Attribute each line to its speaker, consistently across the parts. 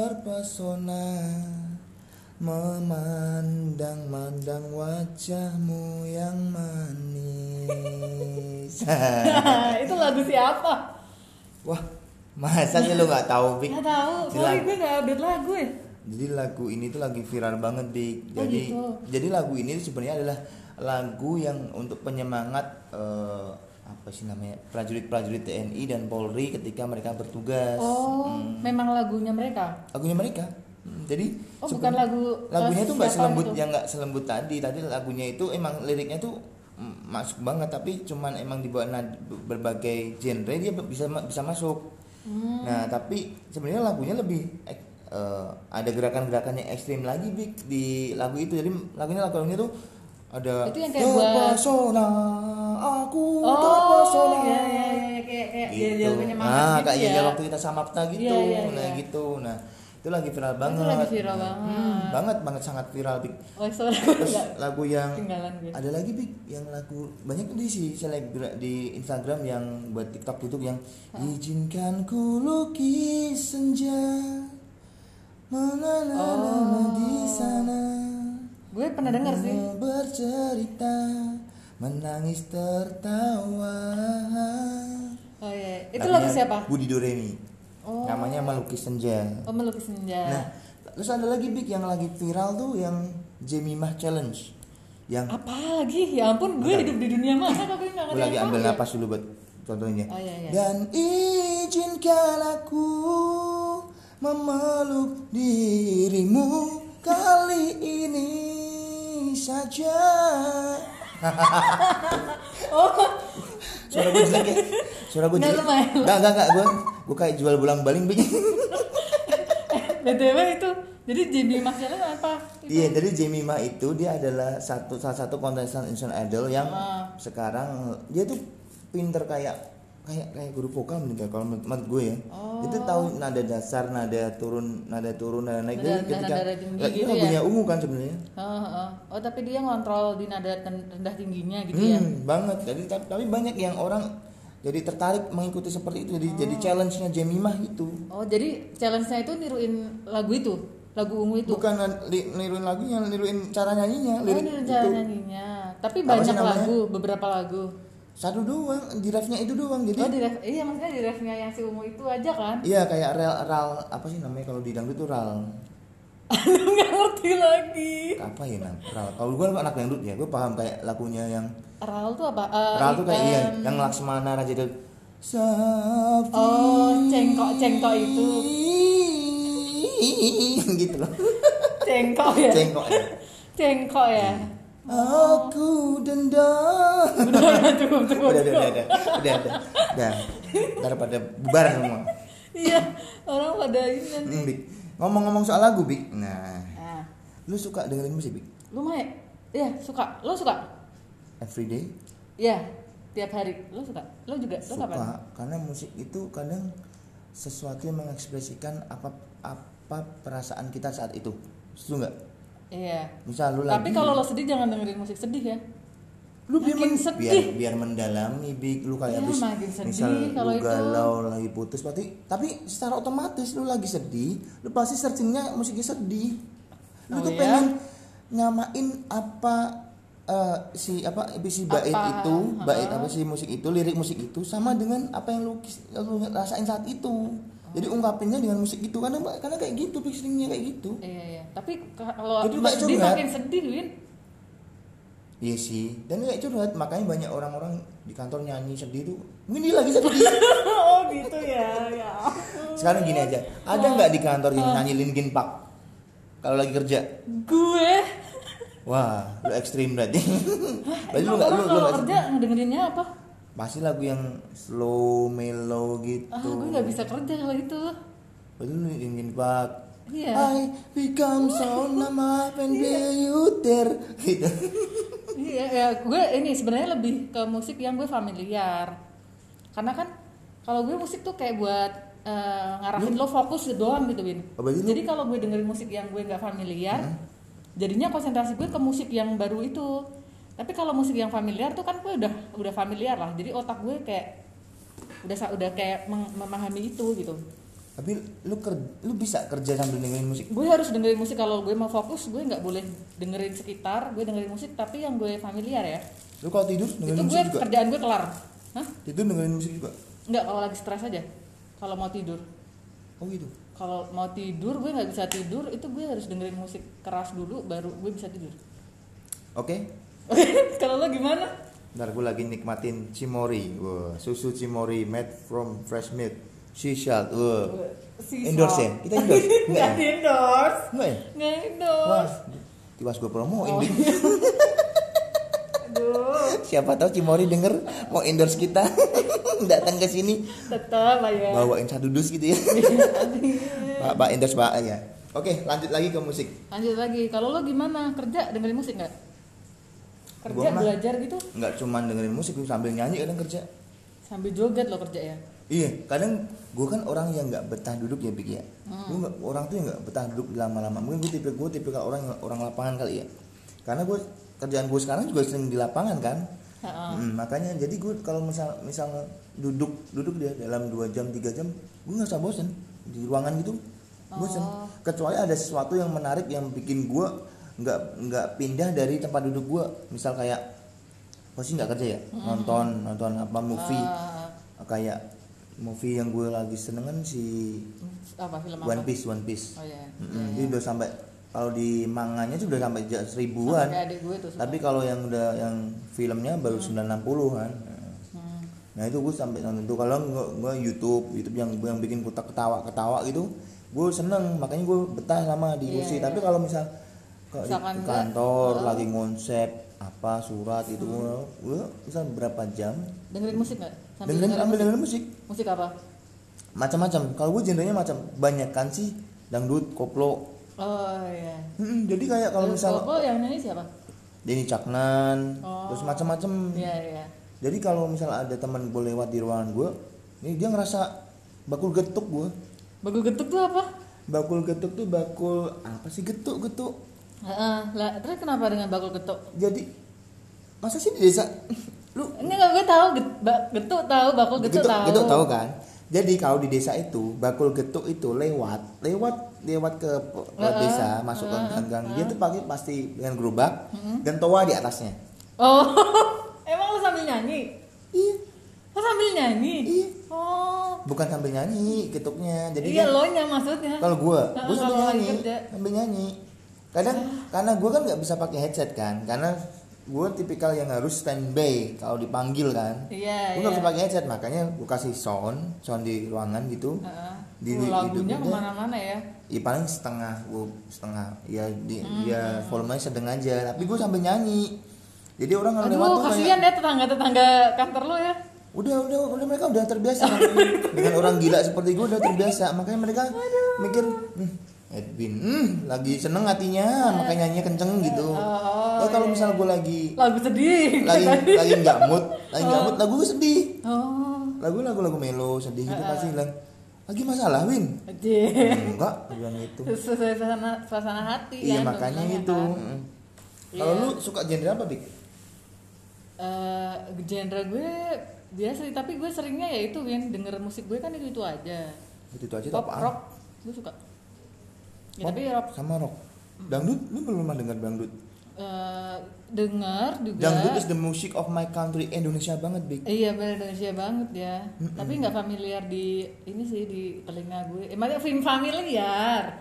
Speaker 1: terpesona memandang-mandang wajahmu yang manis.
Speaker 2: itu lagu siapa?
Speaker 1: Wah, masa sih lu nggak tahu, Bik?
Speaker 2: Gak tahu.
Speaker 1: Jelas.
Speaker 2: Kali gue gak update lagu ya.
Speaker 1: Jadi lagu ini tuh lagi viral banget, Dik.
Speaker 2: Oh,
Speaker 1: Jadi
Speaker 2: gitu.
Speaker 1: jadi lagu ini tuh sebenarnya adalah lagu yang untuk penyemangat eh, apa sih namanya? prajurit-prajurit TNI dan Polri ketika mereka bertugas.
Speaker 2: Oh,
Speaker 1: Hmm.
Speaker 2: memang lagunya mereka.
Speaker 1: Lagunya mereka. Hmm, Jadi
Speaker 2: Oh, bukan
Speaker 1: seben-
Speaker 2: lagu gitu?
Speaker 1: lagunya
Speaker 2: itu
Speaker 1: tuh nggak selembut yang nggak selembut tadi tadi lagunya itu emang liriknya tuh mm, masuk banget tapi cuman emang dibawa nad- berbagai genre dia bisa ma- bisa masuk
Speaker 2: Hmm.
Speaker 1: nah tapi sebenarnya lagunya lebih ek- eh, ada gerakan-gerakan yang ekstrim lagi Big, di lagu itu jadi lagunya lagunya tuh ada
Speaker 2: Itu yang kayak buat-
Speaker 1: terpesona aku
Speaker 2: Oh,
Speaker 1: terpesona
Speaker 2: iya iya iya kayak kayak
Speaker 1: gitu.
Speaker 2: yel-yel penyemangat
Speaker 1: nah
Speaker 2: gitu
Speaker 1: kayak
Speaker 2: ya.
Speaker 1: yel waktu kita sama peta gitu
Speaker 2: Iya, iya,
Speaker 1: nah
Speaker 2: iya.
Speaker 1: gitu nah itu lagi viral banget
Speaker 2: lagi viral
Speaker 1: Nah,
Speaker 2: banget.
Speaker 1: hmm, banget banget sangat viral Big.
Speaker 2: Oh, sorry gue
Speaker 1: terus Ah.
Speaker 2: nggak
Speaker 1: lagu yang
Speaker 2: ketinggalan gue.
Speaker 1: ada lagi Big, yang lagu banyak di si selebgram di Instagram yang buat TikTok gitu yang izinkan ku lukis senja mengenang di sana
Speaker 2: Gue Oh. pernah denger sih.
Speaker 1: Mau bercerita menangis tertawa
Speaker 2: Oh iya, itu
Speaker 1: Lagunya
Speaker 2: lagu siapa?
Speaker 1: Budi Doremi.
Speaker 2: Oh.
Speaker 1: Namanya Melukis Senja.
Speaker 2: Oh, melukis senja.
Speaker 1: Nah, terus ada lagi Big yang lagi viral tuh yang Jemimah Challenge. Yang
Speaker 2: Apa lagi? Ya ampun, gue
Speaker 1: Bentar.
Speaker 2: hidup di dunia masa kok gue
Speaker 1: aku
Speaker 2: gak ngerti
Speaker 1: lagi ambil napas dulu buat contohnya.
Speaker 2: Oh, iya, iya.
Speaker 1: Dan izinkan aku memeluk dirimu kali ini saja.
Speaker 2: Oh,
Speaker 1: Suara gue jelek ya? Suara gue
Speaker 2: Nggak,
Speaker 1: jelek.
Speaker 2: lumayan.
Speaker 1: Enggak, enggak, enggak. Gue, gue kayak jual bulang baling. Big.
Speaker 2: BTW itu. Jadi JB Masnya apa? Itu.
Speaker 1: Iya, jadi Jemima itu dia adalah satu salah satu kontestan Indonesian Idol yang
Speaker 2: Ah.
Speaker 1: sekarang dia tuh pinter kayak kayak kayak guru vokal mending kayak kalau menurut menurut gue ya.
Speaker 2: Oh.
Speaker 1: Itu tahu nada dasar, nada turun, nada turun, nada naik. Jadi
Speaker 2: Nada-
Speaker 1: ketika
Speaker 2: nada tinggi
Speaker 1: lagi
Speaker 2: gitu ya?
Speaker 1: lagunya ungu kan sebenarnya.
Speaker 2: Heeh, heeh. Oh, tapi dia ngontrol di nada ten- rendah tingginya gitu ya.
Speaker 1: Hmm, banget. Jadi tapi, tapi banyak yang orang jadi tertarik mengikuti seperti itu. Jadi jadi challenge-nya Jemimah itu.
Speaker 2: Oh, jadi challenge-nya itu niruin lagu itu, lagu ungu itu.
Speaker 1: Bukan li- niruin lagunya, niruin cara nyanyinya,
Speaker 2: Oh,
Speaker 1: lirik
Speaker 2: niruin
Speaker 1: itu.
Speaker 2: cara nyanyinya. Tapi
Speaker 1: Apa sih
Speaker 2: banyak
Speaker 1: namanya?
Speaker 2: lagu, beberapa lagu.
Speaker 1: Satu doang, di refnya itu doang. Jadi
Speaker 2: Oh, di ref, iya maksudnya di refnya yang si ungu itu aja kan?
Speaker 1: Iya kayak rel ral apa sih namanya kalau di dangdut tuh ral
Speaker 2: Aduh, nggak ngerti lagi.
Speaker 1: apa ya nam ral kalau gue anak dangdut ya gue paham kayak lagunya yang
Speaker 2: Ral tuh apa? Eh,
Speaker 1: ral tuh kayak iya
Speaker 2: em,
Speaker 1: yang Laksmana Raja Dangdut
Speaker 2: Oh, cengkok cengkok itu,
Speaker 1: gitu loh
Speaker 2: cengkok ya,
Speaker 1: cengkok ya.
Speaker 2: cengkok
Speaker 1: Iya.
Speaker 2: ya.
Speaker 1: aku dendam
Speaker 2: Udah, udah, cukup, cukup.
Speaker 1: udah udah udah udah udah udah udah Ntar pada bubar semua
Speaker 2: Iya, orang pada ini nanti.
Speaker 1: Hmm, Bik. ngomong-ngomong soal lagu Bik nah
Speaker 2: Nah,
Speaker 1: lu suka dengerin musik Bik
Speaker 2: lumayan. Iya, suka. Lo suka?
Speaker 1: everyday
Speaker 2: Iya, tiap hari. Lo suka? Lo juga? Lo kapan?
Speaker 1: suka karena musik itu kadang sesuatu yang mengekspresikan apa apa perasaan kita saat itu setuju nggak
Speaker 2: Iya.
Speaker 1: misal lu
Speaker 2: Tapi
Speaker 1: lagi
Speaker 2: kalau lo sedih jangan dengerin musik sedih ya.
Speaker 1: lu biar,
Speaker 2: makin
Speaker 1: men-
Speaker 2: sedih.
Speaker 1: biar biar mendalami big lu kayak
Speaker 2: Iya,
Speaker 1: habis
Speaker 2: makin sedih
Speaker 1: misal
Speaker 2: kalau
Speaker 1: lu
Speaker 2: itu.
Speaker 1: galau lagi putus berarti tapi secara otomatis lu lagi sedih lu pasti searchingnya musiknya sedih lu
Speaker 2: Oh,
Speaker 1: tuh
Speaker 2: iya?
Speaker 1: pengen nyamain apa eh, si apa si bait
Speaker 2: Apa?
Speaker 1: itu bait
Speaker 2: Ha-ha.
Speaker 1: apa sih musik itu lirik musik itu sama dengan apa yang lu, kis- lu rasain saat itu jadi
Speaker 2: Oh.
Speaker 1: ungkapinnya dengan musik itu karena karena kayak gitu fixingnya kayak gitu
Speaker 2: Iya, iya. Tapi kalau
Speaker 1: Jadi kayak
Speaker 2: sedih
Speaker 1: curhat.
Speaker 2: makin sedih, Win.
Speaker 1: Iya sih, dan kayak curhat makanya banyak orang-orang di kantor nyanyi sedih tuh mungkin dia lagi sedih.
Speaker 2: oh gitu ya, ya.
Speaker 1: Sekarang gini aja, ada nggak di kantor
Speaker 2: Oh.
Speaker 1: yang nyanyi Linkin Park kalau lagi kerja?
Speaker 2: Gue.
Speaker 1: Wah, lu ekstrim berarti. berarti lu
Speaker 2: Emang
Speaker 1: nggak lu
Speaker 2: orang
Speaker 1: lu
Speaker 2: kalau
Speaker 1: nggak-
Speaker 2: kerja ngedengerinnya apa?
Speaker 1: pasti lagu yang slow mellow gitu.
Speaker 2: Ah, gue nggak bisa kerja kalau gitu.
Speaker 1: Berarti lu Linkin Park.
Speaker 2: Iya.
Speaker 1: I become so numb and you there gitu.
Speaker 2: Iya, ya, gue ini sebenarnya lebih ke musik yang gue familiar. Karena kan kalau gue musik tuh kayak buat eh, ngarahin lo fokus doang gitu, Win.
Speaker 1: Oh, berarti lu-
Speaker 2: Jadi kalau gue dengerin musik yang gue nggak familiar, jadinya konsentrasi gue ke musik yang baru itu. Tapi kalau musik yang familiar tuh kan gue udah udah familiar lah. Jadi otak gue kayak udah sa- udah kayak meng- memahami itu gitu.
Speaker 1: tapi lu ker lu bisa kerja sambil dengerin musik
Speaker 2: gue harus dengerin musik kalau gue mau fokus gue nggak boleh dengerin sekitar gue dengerin musik tapi yang gue familiar ya
Speaker 1: lu kalau tidur dengerin
Speaker 2: itu gue
Speaker 1: musik juga
Speaker 2: kerjaan gue kelar Hah?
Speaker 1: tidur dengerin musik juga
Speaker 2: nggak kalau lagi stres aja kalau mau tidur
Speaker 1: oh gitu
Speaker 2: kalau mau tidur gue nggak bisa tidur itu gue harus dengerin musik keras dulu baru gue bisa tidur
Speaker 1: oke
Speaker 2: kalau lo gimana
Speaker 1: ntar gue lagi nikmatin cimori wah susu cimori made from fresh milk sea salt wah
Speaker 2: Si
Speaker 1: Endorse ya?
Speaker 2: Sol.
Speaker 1: Kita endorse?
Speaker 2: nggak
Speaker 1: Nggak.
Speaker 2: di endorse
Speaker 1: enggak ya
Speaker 2: nggak
Speaker 1: wah
Speaker 2: endorse
Speaker 1: tiwas gue promoin
Speaker 2: Oh.
Speaker 1: Bin.
Speaker 2: aduh
Speaker 1: siapa tahu cimori denger mau endorse kita datang ke sini
Speaker 2: tetap aja
Speaker 1: bawain satu dus gitu ya pak pak endorse pak ya oke lanjut lagi ke musik
Speaker 2: lanjut lagi kalau lo gimana kerja dengerin musik nggak kerja
Speaker 1: Gua mah-
Speaker 2: belajar gitu
Speaker 1: nggak cuman dengerin musik gue sambil nyanyi kadang kerja
Speaker 2: sambil joget lo kerja ya
Speaker 1: iya kadang gue kan orang yang nggak betah duduk ya Big ya
Speaker 2: Hmm.
Speaker 1: Gua nggak- orang tuh yang nggak betah duduk lama-lama mungkin gue tipe gue tipe orang orang lapangan kali ya karena gue kerjaan gue sekarang juga sering di lapangan kan
Speaker 2: Ha-ha.
Speaker 1: Mm, makanya jadi gue kalau misal misal duduk duduk dia dalam 2 jam 3 jam gue nggak usah bosen di ruangan gitu bosen
Speaker 2: Oh.
Speaker 1: kecuali ada sesuatu yang menarik yang bikin gue nggak nggak pindah dari tempat duduk gue misal kayak gue sih nggak kerja ya nonton nonton apa movie
Speaker 2: Hmm. Ah,
Speaker 1: kayak movie yang gue lagi senengan si
Speaker 2: apa film
Speaker 1: One
Speaker 2: apa
Speaker 1: Piece One Piece
Speaker 2: oh iya
Speaker 1: Mm-mm,
Speaker 2: Iya,
Speaker 1: itu
Speaker 2: iya.
Speaker 1: udah sampai kalau di manganya sih udah sampai ja-
Speaker 2: Sama
Speaker 1: seribuan
Speaker 2: kayak adik gue tuh suka.
Speaker 1: tapi kalau yang udah yang filmnya baru 960-an
Speaker 2: Hmm.
Speaker 1: nah itu gue sampai nonton tuh kalau gue, YouTube YouTube yang yang bikin kutak ketawa ketawa gitu gue seneng makanya gue betah lama di
Speaker 2: Iya,
Speaker 1: kursi
Speaker 2: iya.
Speaker 1: tapi kalau misal kalau di
Speaker 2: Misalkan Oh. enggak,
Speaker 1: kantor
Speaker 2: heeh.
Speaker 1: lagi ngonsep apa surat
Speaker 2: Hmm.
Speaker 1: itu gue bisa berapa jam
Speaker 2: dengerin musik nggak Sambil
Speaker 1: dengerin ambil
Speaker 2: musik.
Speaker 1: dengerin musik
Speaker 2: musik apa
Speaker 1: macam-macam kalau gue genrenya macam banyak kan sih dangdut koplo
Speaker 2: oh iya
Speaker 1: Mm-mm, jadi kayak kalau
Speaker 2: Terus
Speaker 1: misal
Speaker 2: Bobo yang nyanyi siapa
Speaker 1: Denny Caknan
Speaker 2: Oh.
Speaker 1: terus macam-macam
Speaker 2: iya iya
Speaker 1: jadi kalau misal ada teman gue lewat di ruangan gue ini dia ngerasa bakul getuk gue
Speaker 2: bagus getuk tuh apa
Speaker 1: bakul getuk tuh bakul apa sih getuk getuk
Speaker 2: Heeh. lah terus kenapa dengan bakul getuk
Speaker 1: jadi masa sih di desa lu
Speaker 2: ini nggak gue tahu get- ba- getuk tahu bakul getuk, tahu
Speaker 1: getuk tahu kan jadi kalau di desa itu bakul getuk itu lewat lewat lewat ke pe- ke
Speaker 2: Heeh, Mm-hmm.
Speaker 1: desa masuk ke gang dia tuh pakai pasti dengan gerobak dan toa di atasnya
Speaker 2: oh emang lo sambil nyanyi
Speaker 1: iya
Speaker 2: lo sambil nyanyi
Speaker 1: iya
Speaker 2: oh
Speaker 1: bukan sambil nyanyi getuknya jadi
Speaker 2: iya
Speaker 1: kan
Speaker 2: lo nya maksudnya
Speaker 1: kalau gue
Speaker 2: Heeh,
Speaker 1: gue sambil
Speaker 2: kalau Ah. lagi
Speaker 1: nyanyi
Speaker 2: kerja.
Speaker 1: sambil nyanyi kadang karena gue kan nggak bisa pakai headset kan karena gue tipikal yang harus standby kalau dipanggil kan
Speaker 2: iya
Speaker 1: gue
Speaker 2: iya
Speaker 1: nggak bisa pakai headset makanya gue kasih sound sound di ruangan gitu
Speaker 2: Heeh.
Speaker 1: Di-
Speaker 2: Oh,
Speaker 1: di-
Speaker 2: lagunya
Speaker 1: hidupnya.
Speaker 2: kemana-mana ya
Speaker 1: ya paling setengah gue setengah ya di,
Speaker 2: Hmm.
Speaker 1: ya volumenya sedang aja tapi gue sambil nyanyi jadi orang kalau lewat
Speaker 2: aduh
Speaker 1: tuh kayak
Speaker 2: kasihan ya tetangga-tetangga kantor lo ya
Speaker 1: udah udah udah mereka udah terbiasa dengan orang gila seperti gue udah terbiasa makanya mereka mikir "Hmm, Edwin hmm, lagi seneng hatinya makanya nyanyinya kenceng gitu
Speaker 2: Oh,
Speaker 1: ya kalau
Speaker 2: iya.
Speaker 1: misal gue lagi
Speaker 2: lagu sedih
Speaker 1: lagi lagi nggak mood lagi nggak mood lagu gue sedih
Speaker 2: oh
Speaker 1: lagu lagu lagu melo sedih gitu pasti bilang lagi masalah Win
Speaker 2: aja
Speaker 1: enggak dia bilang gitu
Speaker 2: sesuai suasana, suasana hati
Speaker 1: iya
Speaker 2: kan,
Speaker 1: makanya
Speaker 2: bagusnya
Speaker 1: itu
Speaker 2: kan.
Speaker 1: Mm. kalau
Speaker 2: Iya.
Speaker 1: lu suka genre apa dik
Speaker 2: Eh, genre gue biasa sih, tapi gue seringnya ya itu Win denger musik gue kan itu itu aja
Speaker 1: itu itu aja
Speaker 2: pop
Speaker 1: apaan?
Speaker 2: rock gue suka ya,
Speaker 1: Pop
Speaker 2: tapi rock Mm.
Speaker 1: sama rock dangdut lu belum pernah dengar dangdut
Speaker 2: eh, denger juga
Speaker 1: Dangdut is the music of my country Indonesia banget Big.
Speaker 2: Iya benar Indonesia banget ya. Tapi nggak familiar di ini sih di telinga gue. Eh, maksudnya film familiar.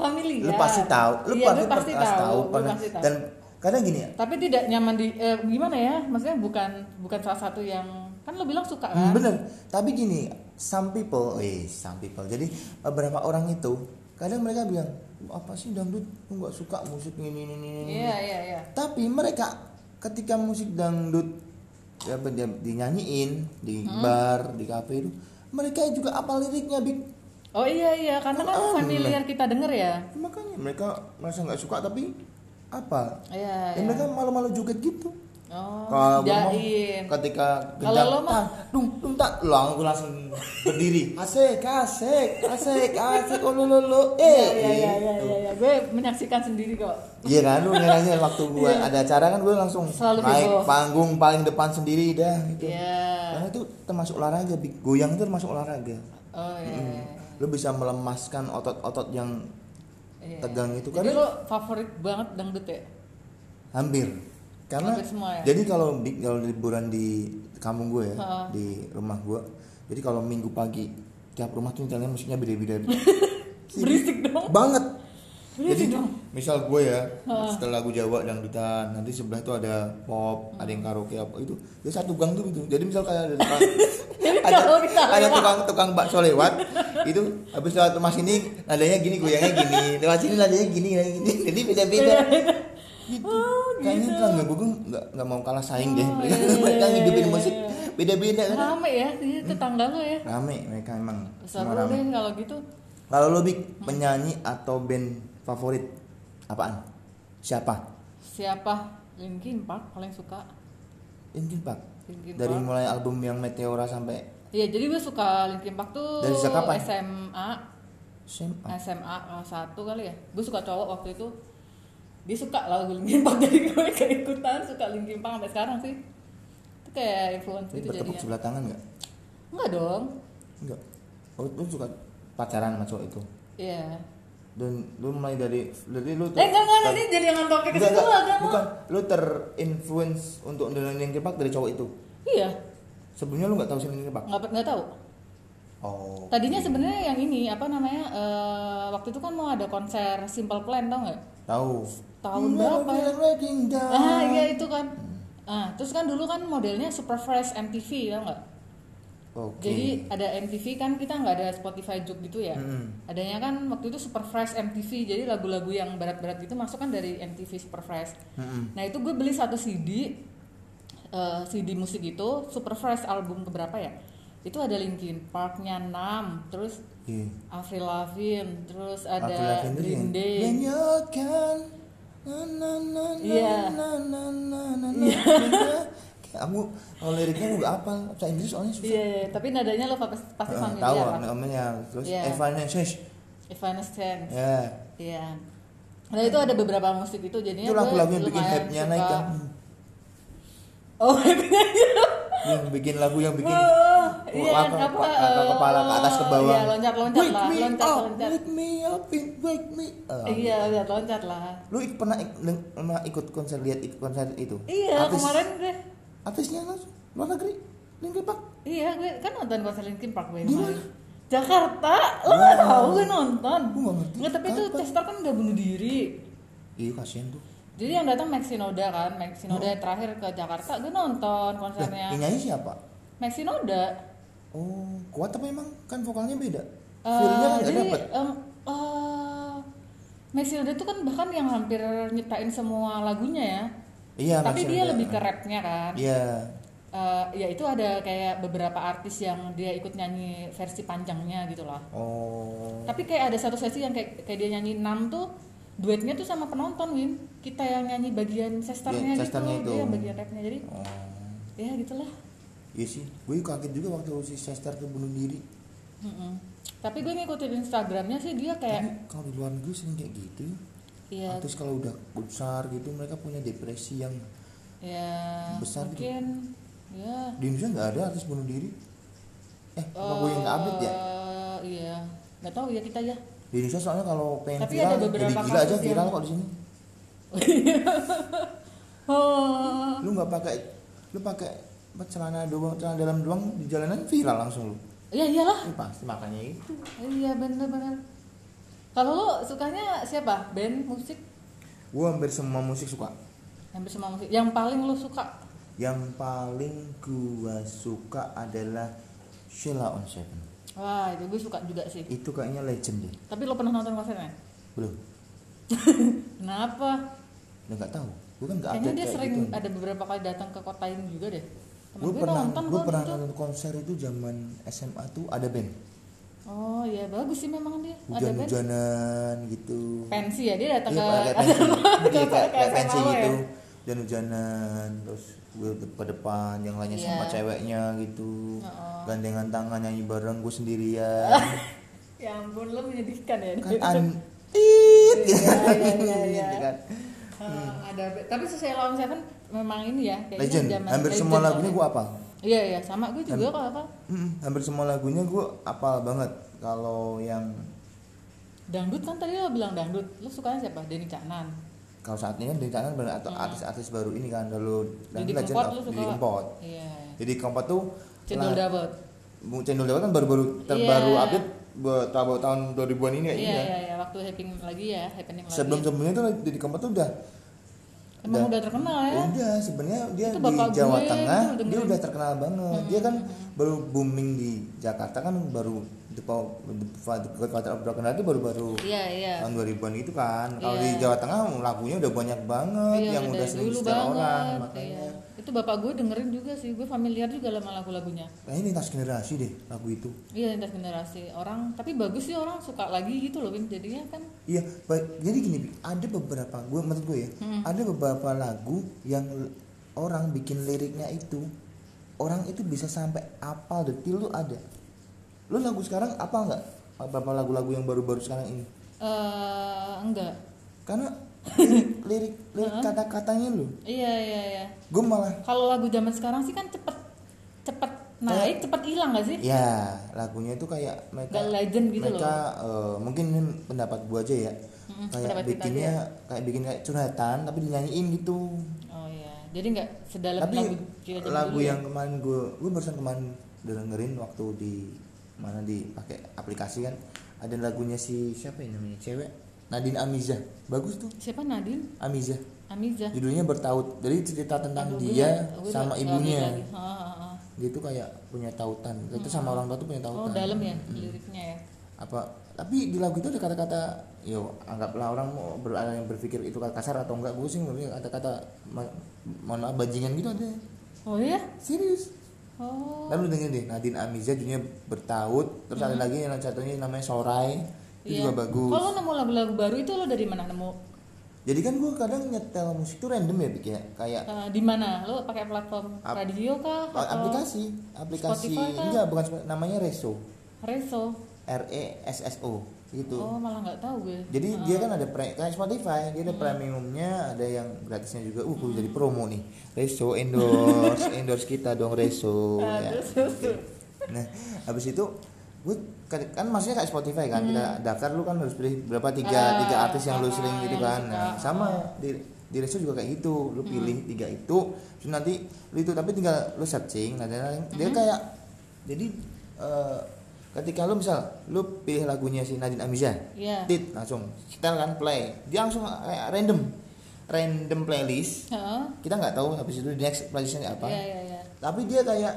Speaker 2: Familiar.
Speaker 1: Lu pasti tahu, lu
Speaker 2: Iya,
Speaker 1: pasti,
Speaker 2: gue pasti
Speaker 1: pernah
Speaker 2: tahu. gue
Speaker 1: pernah.
Speaker 2: pasti tahu.
Speaker 1: Dan kadang gini ya,
Speaker 2: Tapi tidak nyaman di eh, gimana ya? Maksudnya bukan bukan salah satu yang kan lo bilang suka kan?
Speaker 1: Mm, bener. Tapi gini, some people, eh some people. Jadi beberapa orang itu kadang mereka bilang apa sih dangdut? Lu nggak suka musik ini ini ini. ini."
Speaker 2: Iya iya iya.
Speaker 1: Tapi mereka ketika musik dangdut ya, apa, dia- dinyanyiin di
Speaker 2: Hmm.
Speaker 1: bar, di kafe itu, mereka juga apa liriknya Big.
Speaker 2: Oh iya iya karena kan
Speaker 1: Ah,
Speaker 2: familiar kita denger ya.
Speaker 1: Makanya mereka merasa nggak suka tapi apa?
Speaker 2: Iya.
Speaker 1: Ya,
Speaker 2: iya.
Speaker 1: mereka malu-malu joget gitu.
Speaker 2: Oh,
Speaker 1: Kalau gue mau
Speaker 2: jaim.
Speaker 1: ketika
Speaker 2: Kalau
Speaker 1: gendang,
Speaker 2: lo mah-
Speaker 1: tang, dung dung tak lang gue langsung berdiri. Asik, asik, asik, asik, oh, lo lo lo. Eh,
Speaker 2: Iya iya iya iya,
Speaker 1: gitu.
Speaker 2: iya iya. Gue menyaksikan sendiri kok.
Speaker 1: Iya kan lu nyanyi waktu gue ada acara kan gue langsung
Speaker 2: Iya. Selalu
Speaker 1: naik
Speaker 2: heboh.
Speaker 1: panggung paling depan sendiri dah gitu.
Speaker 2: Iya.
Speaker 1: Karena itu termasuk olahraga, Big. goyang itu termasuk olahraga.
Speaker 2: Oh iya. iya, iya.
Speaker 1: lo bisa melemaskan otot-otot yang
Speaker 2: Iya.
Speaker 1: Tegang itu kan-
Speaker 2: Jadi lo favorit banget dangdut ya?
Speaker 1: hampir karena
Speaker 2: Hampir semua ya?
Speaker 1: jadi kalau di- kalau liburan di kampung gue ya
Speaker 2: Heeh.
Speaker 1: di rumah gue jadi kalau minggu pagi tiap rumah tuh misalnya musiknya beda-beda
Speaker 2: Berisik dong.
Speaker 1: banget jadi
Speaker 2: Berisik dong.
Speaker 1: misal gue ya setelah lagu Jawa dangdutan nanti sebelah tuh ada pop
Speaker 2: Hmm.
Speaker 1: ada yang karaoke apa itu jadi satu gang tuh gitu jadi misal kayak ada tukang ada,
Speaker 2: kalau kita
Speaker 1: ada
Speaker 2: lewat.
Speaker 1: tukang tukang bakso lewat itu habis lewat rumah sini nadanya gini goyangnya gini lewat sini nadanya gini goyangnya gini jadi beda beda
Speaker 2: Iya,
Speaker 1: gitu. kayaknya tetangga gue nggak nggak mau kalah saing deh mereka
Speaker 2: Oh, iya,
Speaker 1: mereka
Speaker 2: iya,
Speaker 1: ngidupin
Speaker 2: iya,
Speaker 1: musik
Speaker 2: iya.
Speaker 1: beda beda kan
Speaker 2: Rame ya, ini tetangga lo ya.
Speaker 1: rame mereka emang
Speaker 2: Seru
Speaker 1: semua rame
Speaker 2: deh kalau gitu.
Speaker 1: kalau lo Big, penyanyi atau band favorit apaan? Siapa?
Speaker 2: Siapa? Linkin Park paling suka.
Speaker 1: Linkin Park.
Speaker 2: Linkin
Speaker 1: Dari
Speaker 2: Park.
Speaker 1: mulai album yang Meteora sampai
Speaker 2: Iya, jadi gue suka Linkin Park tuh
Speaker 1: Dari sejak kapan? Oh.
Speaker 2: SMA,
Speaker 1: SMA.
Speaker 2: SMA kelas 1 kali ya. Gue suka cowok waktu itu. Dia suka lagu Linkin Park jadi gue keikutan suka Linkin Park sampai sekarang sih. Itu kayak influence
Speaker 1: Ini
Speaker 2: gitu
Speaker 1: bertepuk
Speaker 2: jadinya.
Speaker 1: sebelah tangan nggak?
Speaker 2: Enggak dong.
Speaker 1: Enggak. Oh, lo suka pacaran sama cowok itu.
Speaker 2: Iya.
Speaker 1: Dan lo mulai dari dari lo
Speaker 2: Eh enggak enggak ini jadi yang topik ke
Speaker 1: Enggak,
Speaker 2: situ
Speaker 1: enggak.
Speaker 2: lah kan.
Speaker 1: bukan lo terinfluence untuk dengerin Linkin Park dari cowok itu.
Speaker 2: Iya.
Speaker 1: Sebelumnya lo nggak tahu si Linkin Park.
Speaker 2: Enggak enggak tahu.
Speaker 1: Oh.
Speaker 2: Tadinya sebenarnya yang ini apa namanya? eh, waktu itu kan mau ada konser Simple Plan tau nggak?
Speaker 1: Tahu.
Speaker 2: Tahun
Speaker 1: Never
Speaker 2: berapa
Speaker 1: feel
Speaker 2: ya?
Speaker 1: like getting down.
Speaker 2: Ah iya itu kan. Ah, terus kan dulu kan modelnya super fresh MTV tau nggak?
Speaker 1: Oke.
Speaker 2: Jadi ada MTV kan kita nggak ada Spotify Juk gitu ya.
Speaker 1: Mm-mm.
Speaker 2: Adanya kan waktu itu super fresh MTV. Jadi lagu-lagu yang barat-barat gitu masuk kan dari MTV super fresh.
Speaker 1: Mm-mm.
Speaker 2: Nah itu gue beli satu CD eh, CD musik itu super fresh album keberapa ya? Itu ada Linkin Parknya 6 terus
Speaker 1: Iya.
Speaker 2: Avril Lavigne, terus ada
Speaker 1: Avril Lavigne itu
Speaker 2: Green
Speaker 1: yang-
Speaker 2: Day.
Speaker 1: When you can, na, na, na, na,
Speaker 2: Iya.
Speaker 1: na, na, na, na, na, na. Kayak Aku kalau liriknya aku nggak apa, bahasa Inggris soalnya susah.
Speaker 2: Iya, iya, tapi nadanya lo pasti pasti
Speaker 1: Eh,
Speaker 2: familiar
Speaker 1: tahu
Speaker 2: lah.
Speaker 1: namanya terus
Speaker 2: Iya.
Speaker 1: Evanescence.
Speaker 2: Evanescence.
Speaker 1: Ya.
Speaker 2: Iya. Nah itu ada beberapa musik itu jadinya
Speaker 1: Itu
Speaker 2: gue
Speaker 1: lagu-lagu yang bikin
Speaker 2: lumayan
Speaker 1: hype-nya
Speaker 2: suka.
Speaker 1: naik kan.
Speaker 2: Oh, hype-nya
Speaker 1: Yang bikin lagu yang bikin
Speaker 2: Wah, iya
Speaker 1: Wah,
Speaker 2: kan
Speaker 1: apa,
Speaker 2: apa?
Speaker 1: apa, kepala ke atas ke bawah.
Speaker 2: Iya, loncat-loncat
Speaker 1: wake
Speaker 2: lah,
Speaker 1: me oh. up,
Speaker 2: loncat-loncat.
Speaker 1: wake me up, and wake me up.
Speaker 2: Iya, loncat-loncat lah.
Speaker 1: Lu ik- pernah ik- deng- pernah ikut konser lihat ikut konser itu?
Speaker 2: Iya,
Speaker 1: Artis-
Speaker 2: kemarin gue
Speaker 1: Artisnya langsung luar negeri. Linkin Park.
Speaker 2: Iya, gue kan nonton konser Linkin Park gue
Speaker 1: Di
Speaker 2: kemarin.
Speaker 1: mana?
Speaker 2: Jakarta, lo nggak
Speaker 1: Wow.
Speaker 2: tahu gue nonton.
Speaker 1: Gue nggak ngerti.
Speaker 2: Nggak, tapi itu
Speaker 1: Kapan?
Speaker 2: Chester kan udah bunuh diri.
Speaker 1: Iya kasihan tuh.
Speaker 2: Jadi yang datang Maxinoda kan, Maxinoda yang terakhir ke Jakarta, gue nonton
Speaker 1: Oh. Lah, yang
Speaker 2: konsernya.
Speaker 1: nyanyi siapa?
Speaker 2: Maxinoda.
Speaker 1: Oh, kuat tapi emang kan vokalnya beda.
Speaker 2: Eh,
Speaker 1: Feelnya kan gak
Speaker 2: jadi
Speaker 1: dapet.
Speaker 2: em, eh, Maxilda itu kan bahkan yang hampir nyiptain semua lagunya ya.
Speaker 1: Iya,
Speaker 2: Tapi
Speaker 1: Maxilda.
Speaker 2: dia lebih ke rapnya kan.
Speaker 1: Iya.
Speaker 2: Eh, ya itu ada kayak beberapa artis yang dia ikut nyanyi versi panjangnya gitu lah.
Speaker 1: Oh.
Speaker 2: Tapi kayak ada satu sesi yang kayak, kayak dia nyanyi 6 tuh duetnya tuh sama penonton Win. Kita yang nyanyi bagian sesternya
Speaker 1: Iya,
Speaker 2: gitu,
Speaker 1: sesternya itu.
Speaker 2: dia yang bagian rapnya. Jadi
Speaker 1: Oh.
Speaker 2: ya gitulah.
Speaker 1: Iya sih, gue kaget juga waktu si Chester tuh bunuh diri.
Speaker 2: Mm-mm. Tapi gue ngikutin Instagramnya sih dia kayak
Speaker 1: Tapi kalau di luar negeri sering kayak gitu.
Speaker 2: Iya.
Speaker 1: Artis kalau udah besar gitu mereka punya depresi yang
Speaker 2: ya
Speaker 1: Besar gitu.
Speaker 2: mungkin ya
Speaker 1: di Indonesia nggak ada artis bunuh diri. Eh, apa gue yang nggak update ya?
Speaker 2: Eh, Iya, nggak tahu ya kita ya.
Speaker 1: Di Indonesia soalnya kalau pengen
Speaker 2: Tapi
Speaker 1: viral
Speaker 2: ada beberapa
Speaker 1: jadi gila aja
Speaker 2: kasus yang-
Speaker 1: viral kok di sini.
Speaker 2: Oh,
Speaker 1: Lu nggak pakai lu pakai apa, celana doang celana dalam doang di jalanan viral langsung lu.
Speaker 2: iya iyalah,
Speaker 1: Ini pasti makanya itu.
Speaker 2: iya bener-bener. Kalau lo sukanya siapa? Band musik?
Speaker 1: Gue hampir semua musik suka.
Speaker 2: Hampir semua musik. Yang paling lo suka?
Speaker 1: Yang paling gua suka adalah Sheila on Seven.
Speaker 2: Wah, itu gue suka juga sih.
Speaker 1: Itu kayaknya legend deh.
Speaker 2: Tapi lo pernah nonton konsernya?
Speaker 1: Belum.
Speaker 2: Kenapa?
Speaker 1: Udah nggak tahu. Gua kan nggak
Speaker 2: Kayaknya
Speaker 1: update
Speaker 2: dia
Speaker 1: kayak
Speaker 2: sering
Speaker 1: gitu.
Speaker 2: ada beberapa kali datang ke kota ini juga deh. Temen
Speaker 1: Gue pernah gue
Speaker 2: kok
Speaker 1: pernah
Speaker 2: gitu.
Speaker 1: nonton konser itu zaman SMA tuh ada band.
Speaker 2: Oh iya bagus sih memang dia. ada band.
Speaker 1: Hujan-hujanan gitu.
Speaker 2: Pensi ya dia datang
Speaker 1: Iya, kayak
Speaker 2: ke
Speaker 1: pensi, iya,
Speaker 2: ke-
Speaker 1: kayak,
Speaker 2: ke
Speaker 1: kayak
Speaker 2: SMA
Speaker 1: pensi
Speaker 2: lo ya?
Speaker 1: gitu. Dan hujanan, terus gue ke depan, yang lainnya
Speaker 2: Iya.
Speaker 1: sama ceweknya gitu.
Speaker 2: Heeh.
Speaker 1: Gandengan tangan nyanyi bareng gue sendirian.
Speaker 2: Ya ampun lo menyedihkan ya.
Speaker 1: kan an tit gitu
Speaker 2: Iya,
Speaker 1: kan.
Speaker 2: iya, iya, iya.
Speaker 1: Gitu kan.
Speaker 2: Eh, ada Ah, tapi Sheila on Seven memang ini ya kayaknya
Speaker 1: Legend,
Speaker 2: zaman
Speaker 1: hampir
Speaker 2: legend
Speaker 1: semua
Speaker 2: soalnya.
Speaker 1: lagunya gue apa?
Speaker 2: Iya iya sama gue juga kalau apa
Speaker 1: Mm-mm, hampir semua lagunya gue apal banget kalau yang
Speaker 2: dangdut kan tadi lo bilang dangdut lo sukanya siapa Denny Canan
Speaker 1: kalau saat ini kan dari tangan ber- atau
Speaker 2: Hmm.
Speaker 1: artis-artis baru ini kan lalu
Speaker 2: Didi
Speaker 1: Legend
Speaker 2: Kempot
Speaker 1: of-
Speaker 2: lo suka
Speaker 1: Didi Kempot
Speaker 2: iya
Speaker 1: jadi Kempot tuh
Speaker 2: cendol
Speaker 1: lah-
Speaker 2: dawet
Speaker 1: Bu- Cendol Dewa kan baru-baru terbaru
Speaker 2: Iya.
Speaker 1: update buat tahun tahun 2000-an ini
Speaker 2: iya
Speaker 1: kayaknya.
Speaker 2: iya iya waktu happening lagi ya happening lagi
Speaker 1: Sebelum sebelumnya tuh Didi Kempot tuh udah udah-
Speaker 2: emang udah terkenal ya
Speaker 1: udah sebenarnya dia
Speaker 2: Itu
Speaker 1: di
Speaker 2: bapak
Speaker 1: Jawa
Speaker 2: gue,
Speaker 1: Tengah
Speaker 2: itu
Speaker 1: dia
Speaker 2: dengerin.
Speaker 1: udah terkenal banget. Dia kan
Speaker 2: Hmm.
Speaker 1: baru booming di Jakarta kan baru The, Pow- The Father- Godfather of Rock and Roll itu baru-baru
Speaker 2: iya iya
Speaker 1: tahun 2000-an gitu kan. Kalau
Speaker 2: Iya.
Speaker 1: di Jawa Tengah lagunya udah banyak banget
Speaker 2: Iya,
Speaker 1: yang udah
Speaker 2: dari
Speaker 1: sering
Speaker 2: dulu
Speaker 1: secara
Speaker 2: banget,
Speaker 1: orang makanya.
Speaker 2: iya. itu bapak gue dengerin juga sih gue familiar juga sama lagu-lagunya
Speaker 1: Kayaknya lintas Nah, generasi deh lagu itu.
Speaker 2: iya lintas generasi orang tapi bagus sih orang suka lagi gitu loh Win jadinya kan
Speaker 1: Iya, baik. Jadi gini, Bi, ada beberapa gue menurut gue ya,
Speaker 2: Hmm.
Speaker 1: ada beberapa lagu yang l- orang bikin liriknya itu orang itu bisa sampai apal detil lu ada. Lu lagu sekarang apal nggak? Beberapa lagu-lagu yang baru-baru sekarang ini.
Speaker 2: eh enggak
Speaker 1: Karena lirik lirik, lirik kata-katanya lu.
Speaker 2: iya iya iya
Speaker 1: Gue malah
Speaker 2: kalau lagu zaman sekarang sih kan cepet cepet
Speaker 1: Iya.
Speaker 2: naik cepet hilang gak sih
Speaker 1: ya lagunya itu kayak mereka
Speaker 2: gak legend gitu
Speaker 1: mereka
Speaker 2: loh
Speaker 1: eh, mungkin ini pendapat gue aja ya.
Speaker 2: Mm-mm,
Speaker 1: kayak
Speaker 2: pendapat kita
Speaker 1: bikinnya kayak bikin kayak curhatan tapi dinyanyiin gitu.
Speaker 2: oh iya jadi nggak sedalam
Speaker 1: tapi
Speaker 2: lagu
Speaker 1: lagu,
Speaker 2: zaman dulu ya.
Speaker 1: yang kemarin gue gue barusan kemarin dengerin waktu di mana di pakai aplikasi kan ada lagunya si siapa ya namanya cewek Nadine Amiza bagus tuh
Speaker 2: siapa Nadine
Speaker 1: Amiza
Speaker 2: Amiza ya?
Speaker 1: judulnya bertaut jadi cerita tentang
Speaker 2: Aduh,
Speaker 1: Iya,
Speaker 2: gue
Speaker 1: dia
Speaker 2: nggak- gue
Speaker 1: sama
Speaker 2: nggak-
Speaker 1: ibunya
Speaker 2: nggak Oh, lagi. Ha, ha, ha.
Speaker 1: dia tuh kayak punya tautan itu sama orang tua tuh punya tautan
Speaker 2: oh dalam ya
Speaker 1: Mm-mm.
Speaker 2: liriknya ya
Speaker 1: apa tapi di lagu itu ada kata-kata yo anggaplah orang mau ber, ada yang berpikir itu kata kasar atau enggak gue sih ngeliatnya kata-kata ma- mohon maaf bajingan gitu ada
Speaker 2: oh iya
Speaker 1: serius
Speaker 2: oh Hmm.
Speaker 1: Lalu dengerin deh Nadine Amiza judulnya bertaut, terus ada lagi yang satunya namanya Sorai itu
Speaker 2: Iya.
Speaker 1: juga bagus.
Speaker 2: Kalau lo nemu lagu-lagu baru itu lo dari mana nemu?
Speaker 1: Jadi kan gue kadang nyetel musik tuh random ya Bik ya, kayak
Speaker 2: Eh, di mana? Lo pakai platform
Speaker 1: Ap-
Speaker 2: radio kah?
Speaker 1: a-
Speaker 2: Atau
Speaker 1: aplikasi, aplikasi
Speaker 2: Oh, Spotify kan?
Speaker 1: enggak bukan Spotify, namanya Reso,
Speaker 2: Reso.
Speaker 1: R E S S O gitu.
Speaker 2: Oh, malah nggak tahu gue.
Speaker 1: Jadi dia kan ada pre, kayak Spotify, dia ada
Speaker 2: Hmm.
Speaker 1: premiumnya, ada yang gratisnya juga. Uh, kudu jadi promo nih. Reso endorse, endorse kita dong Reso. ya.
Speaker 2: Aduh, sus, sus.
Speaker 1: Nah, habis itu gue kan, kan maksudnya kayak Spotify kan kita daftar lu kan harus pilih berapa tiga
Speaker 2: Hmm. Ah,
Speaker 1: tiga artis yang lu
Speaker 2: ah,
Speaker 1: sering gitu
Speaker 2: yang
Speaker 1: kan.
Speaker 2: suka. Hmm.
Speaker 1: Nah, sama di di Reso juga kayak gitu. Lu pilih tiga itu, terus nanti lu itu tapi tinggal lu searching. Nah, dia, dia
Speaker 2: Hmm.
Speaker 1: kayak jadi eh, ketika lu misal lu pilih lagunya si Nadine Amizah,
Speaker 2: Iya.
Speaker 1: tit Nah. langsung setel kan play. Dia langsung kayak random random playlist.
Speaker 2: Heeh.
Speaker 1: Kita nggak tahu habis itu di next playlistnya apa.
Speaker 2: Iya, iya, iya.
Speaker 1: Tapi dia kayak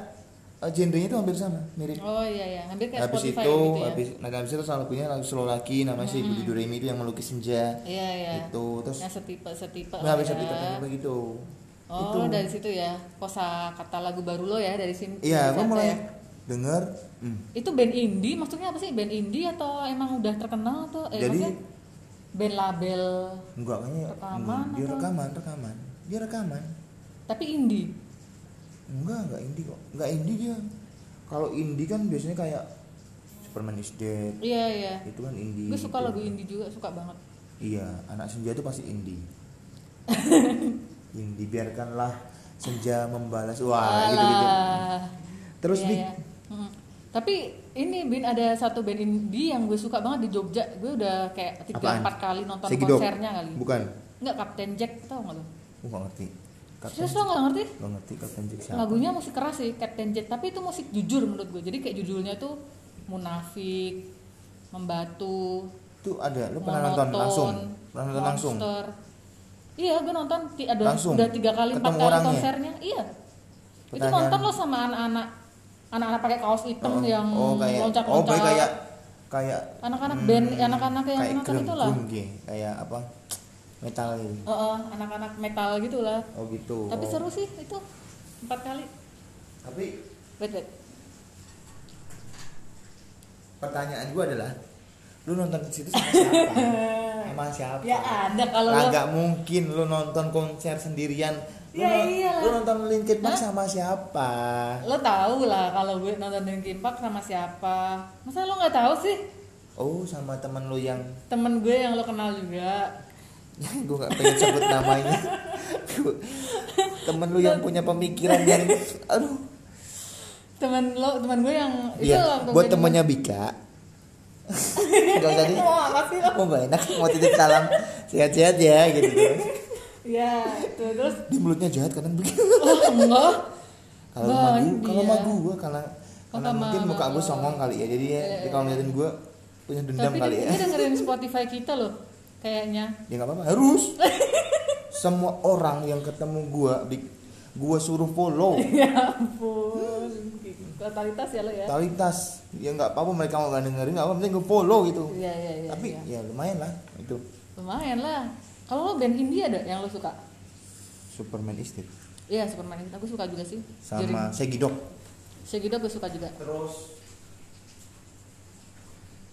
Speaker 1: eh, genrenya itu hampir sama, mirip
Speaker 2: Oh iya iya, hampir kayak
Speaker 1: habis
Speaker 2: Spotify
Speaker 1: itu
Speaker 2: gitu ya.
Speaker 1: habis nah habis itu salah lagunya lagu slow lagi namanya si Budi Doremi itu yang melukis senja
Speaker 2: Iya iya.
Speaker 1: itu terus
Speaker 2: Yang setipe setipe.
Speaker 1: nah, habis
Speaker 2: ya.
Speaker 1: itu katanya begitu itu
Speaker 2: Oh, dari situ ya. Kosa kata lagu baru lo ya dari sini.
Speaker 1: iya
Speaker 2: dari
Speaker 1: gue
Speaker 2: sana
Speaker 1: mulai
Speaker 2: ya.
Speaker 1: denger hmm,
Speaker 2: Itu band indie, maksudnya apa sih? Band indie atau emang udah terkenal atau eh,
Speaker 1: Jadi-
Speaker 2: maksudnya band label
Speaker 1: enggak kayaknya
Speaker 2: Rekaman
Speaker 1: hmm, dia
Speaker 2: atau-
Speaker 1: rekaman rekaman dia rekaman
Speaker 2: tapi indie.
Speaker 1: enggak enggak indie kok enggak indie dia kalau indie kan biasanya kayak Superman is Dead
Speaker 2: Iya iya.
Speaker 1: itu kan indie
Speaker 2: Gue suka
Speaker 1: gitu.
Speaker 2: lagu indie juga, suka banget.
Speaker 1: Iya, anak senja itu pasti indie. indie biarkanlah senja membalas. Wah, gitu gitu.
Speaker 2: Alah.
Speaker 1: Terus
Speaker 2: Iya,
Speaker 1: Big,
Speaker 2: iya. Mm. Tapi ini Bin ada satu band indie yang gue suka banget di Jogja. Gue udah kayak tiga
Speaker 1: Apaan?
Speaker 2: empat kali nonton
Speaker 1: Segidok.
Speaker 2: konsernya kali.
Speaker 1: Bukan.
Speaker 2: Enggak Captain Jack tau gak lo?
Speaker 1: Gue gak ngerti. Kapten,
Speaker 2: Serius lo gak ngerti?
Speaker 1: gak ngerti Kapten Jack siapa.
Speaker 2: Lagunya musik keras sih Captain Jack, tapi itu musik jujur menurut gue. Jadi kayak judulnya tuh munafik, membatu,
Speaker 1: Itu ada, lu pernah nonton
Speaker 2: monoton,
Speaker 1: langsung? Pernah nonton langsung?
Speaker 2: monster. Iya, gue nonton ti- ada
Speaker 1: Langsung?
Speaker 2: udah tiga kali empat
Speaker 1: Ketemu
Speaker 2: kali
Speaker 1: orangnya?
Speaker 2: konsernya. Iya. Itu
Speaker 1: Pertanyaan.
Speaker 2: nonton lo sama anak-anak anak-anak pakai kaos hitam
Speaker 1: Oh,
Speaker 2: yang
Speaker 1: oh, kayak,
Speaker 2: loncat-loncat.
Speaker 1: oh, baik kayak kayak hmm,
Speaker 2: anak-anak band, anak-anak yang
Speaker 1: kayak
Speaker 2: nonton
Speaker 1: grung-
Speaker 2: itulah.
Speaker 1: grung gitu, kayak apa? Metal gitu.
Speaker 2: Heeh, anak-anak metal gitu lah.
Speaker 1: Oh gitu.
Speaker 2: Tapi
Speaker 1: oh.
Speaker 2: seru sih itu empat kali.
Speaker 1: Tapi
Speaker 2: Wait, wait.
Speaker 1: pertanyaan gue adalah lu nonton ke situ sama siapa? sama siapa?
Speaker 2: Ya ada kalau
Speaker 1: Lah
Speaker 2: lo
Speaker 1: nggak mungkin lu nonton konser sendirian. Lu,
Speaker 2: Ya
Speaker 1: non-
Speaker 2: iyalah.
Speaker 1: lu nonton Linkin Park
Speaker 2: Hah?
Speaker 1: sama siapa?
Speaker 2: lo tau lah kalau gue nonton Linkin Park sama siapa. Masa lo nggak tahu sih
Speaker 1: Oh, sama temen lu yang
Speaker 2: temen gue yang lo kenal juga.
Speaker 1: gue nggak pengen sebut namanya. Temen lu yang punya pemikiran yang aduh.
Speaker 2: temen lo temen gue yang
Speaker 1: Iya,
Speaker 2: waktu
Speaker 1: buat
Speaker 2: gue
Speaker 1: temennya Bika. Gak usah
Speaker 2: di-
Speaker 1: deh.
Speaker 2: Wah, apa sih lo?
Speaker 1: Mau gak enak, mau titip salam sehat-sehat ya gitu terus.
Speaker 2: Iya, tuh, terus
Speaker 1: Di mulutnya jahat kadang begitu.
Speaker 2: oh, enggak.
Speaker 1: Kalau sama
Speaker 2: Bang,
Speaker 1: gue, kalau
Speaker 2: iya.
Speaker 1: sama gue, karena karena
Speaker 2: sama- Iya,
Speaker 1: mungkin muka gue songong kali ya, jadi ya, dia kalau ngeliatin gue punya dendam
Speaker 2: Tapi
Speaker 1: kali
Speaker 2: dia,
Speaker 1: ya.
Speaker 2: dia dengerin Spotify kita loh kayaknya.
Speaker 1: Ya nggak apa-apa, harus. Semua orang yang ketemu gue, Bik, gue suruh follow.
Speaker 2: Ya ampun. Totalitas ya lo ya.
Speaker 1: Totalitas, ya nggak apa-apa mereka mau nggak dengerin, nggak apa-apa, penting gue follow gitu.
Speaker 2: Iya, iya, iya.
Speaker 1: Tapi ya
Speaker 2: iya.
Speaker 1: lumayan lah itu
Speaker 2: lumayan lah. Kalau lo band India ada yang lo suka?
Speaker 1: Superman istri
Speaker 2: Iya, Superman. Aku suka juga sih.
Speaker 1: sama Segidok.
Speaker 2: Segitu gue suka juga.
Speaker 1: Terus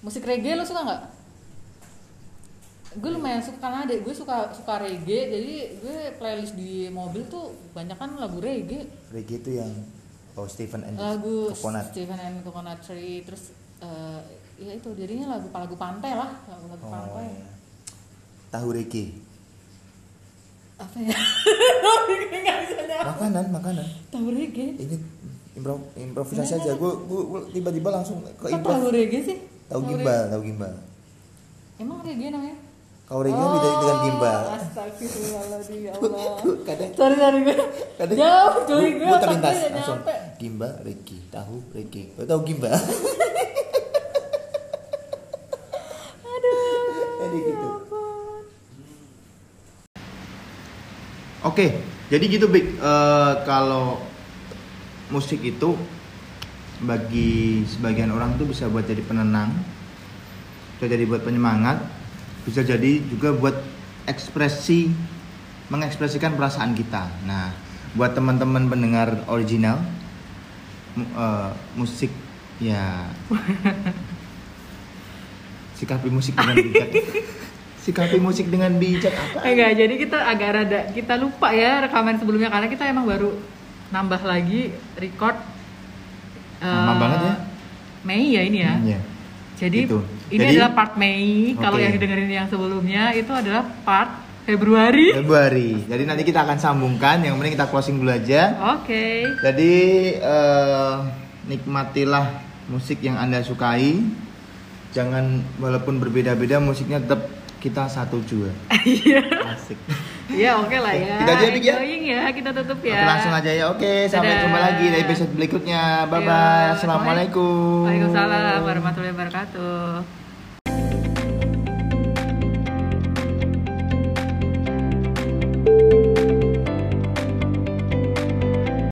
Speaker 2: Musik reggae lo suka nggak? Gue lumayan suka karena ada gue suka suka reggae, jadi gue playlist di mobil tuh banyak kan lagu reggae,
Speaker 1: Reggae itu yang oh Stephen and the
Speaker 2: lagu
Speaker 1: Coconut.
Speaker 2: Steven and Coconut Tree, terus eh, ya itu jadinya lagu lagu pantai lah, lagu lagu
Speaker 1: Oh,
Speaker 2: pantai.
Speaker 1: iya. Tahu reggae.
Speaker 2: Apa ya? Nggak bisa nyam-
Speaker 1: Makanan, makanan.
Speaker 2: Tahu reggae?
Speaker 1: Ini impro improvisasi aja. Gue tiba-tiba langsung ke
Speaker 2: Kok
Speaker 1: improv.
Speaker 2: tahu reggae sih?
Speaker 1: Tahu
Speaker 2: reggae.
Speaker 1: gimbal, tahu gimbal.
Speaker 2: Emang reggae namanya?
Speaker 1: Kalau
Speaker 2: Oh,
Speaker 1: reggae beda dengan gimbal.
Speaker 2: Astagfirullahaladzim ya Allah.
Speaker 1: Kadang
Speaker 2: Sorry sorry gue.
Speaker 1: kadang
Speaker 2: Jauh cuy
Speaker 1: gua-
Speaker 2: gue.
Speaker 1: gua
Speaker 2: otaknya
Speaker 1: terlintas
Speaker 2: nggak
Speaker 1: langsung.
Speaker 2: nyampe.
Speaker 1: Gimbal, reggae, tahu reggae. Gua tahu gimbal.
Speaker 2: Aduh.
Speaker 1: Jadi gitu.
Speaker 2: ya ampun.
Speaker 1: Oke, jadi gitu Big. Eh, kalau musik itu bagi sebagian orang tuh bisa buat jadi penenang, bisa jadi buat penyemangat, bisa jadi juga buat ekspresi mengekspresikan perasaan kita. Nah, buat teman-teman pendengar original mu- eh, musik ya sikapi musik dengan bijak. sikapi musik dengan bijak apa?
Speaker 2: Enggak, jadi kita agak rada kita lupa ya rekaman sebelumnya karena kita emang baru nambah lagi record.
Speaker 1: Lama
Speaker 2: eh,
Speaker 1: banget ya.
Speaker 2: Mei ya ini ya.
Speaker 1: Hmm, ya.
Speaker 2: Jadi
Speaker 1: Gitu.
Speaker 2: ini
Speaker 1: Jadi-
Speaker 2: adalah part Mei. Kalau
Speaker 1: Oke.
Speaker 2: yang didengerin yang sebelumnya itu adalah part Februari. Oke.
Speaker 1: Februari. Jadi nanti kita akan sambungkan. Yang penting kita closing dulu aja. Jadi eh, nikmatilah musik yang anda sukai. Jangan walaupun berbeda-beda musiknya tetap kita satu jua. Asik.
Speaker 2: Ya oke lah ya.
Speaker 1: Kita aja, Big, ya?
Speaker 2: Enjoying ya, kita tutup ya.
Speaker 1: Oke, langsung aja ya. Oke, sampai
Speaker 2: Dadah.
Speaker 1: jumpa lagi di episode berikutnya. Bye
Speaker 2: Ayo,
Speaker 1: bye. Assalamualaikum.
Speaker 2: Waalaikumsalam warahmatullahi wabarakatuh.